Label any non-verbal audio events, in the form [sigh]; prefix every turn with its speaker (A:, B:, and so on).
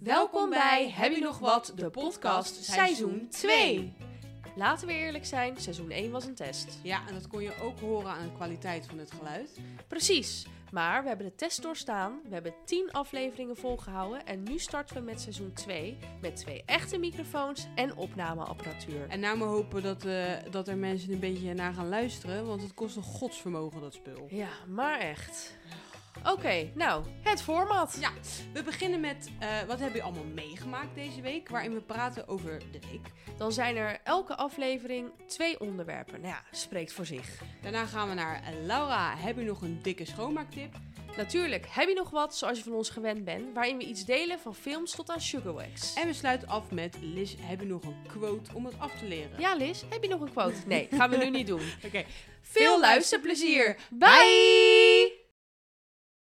A: Welkom bij Heb je nog wat? De podcast seizoen 2. Laten we eerlijk zijn, seizoen 1 was een test.
B: Ja, en dat kon je ook horen aan de kwaliteit van het geluid.
A: Precies, maar we hebben de test doorstaan, we hebben 10 afleveringen volgehouden en nu starten we met seizoen 2 met twee echte microfoons en opnameapparatuur.
B: En nou maar hopen dat, eh, dat er mensen een beetje naar gaan luisteren, want het kost een godsvermogen dat spul.
A: Ja, maar echt. Oké, nou, het format.
B: Ja, we beginnen met eh, wat hebben je allemaal meegemaakt deze week, waarin we praten over de week.
A: Dan zijn er elke aflevering twee onderwerpen. Nou ja, spreekt voor zich.
B: Daarna gaan we naar eh, Laura, heb je nog een dikke schoonmaaktip?
A: Natuurlijk, heb je nog wat, zoals je van ons gewend bent, waarin we iets delen van films tot aan sugarwax.
B: En we sluiten af met Liz, heb je nog een quote om het af te leren?
A: Ja, Liz, [laughs] heb je nog een quote? Nee, gaan we nu niet doen.
B: Oké,
A: Veel luisterplezier. Bye!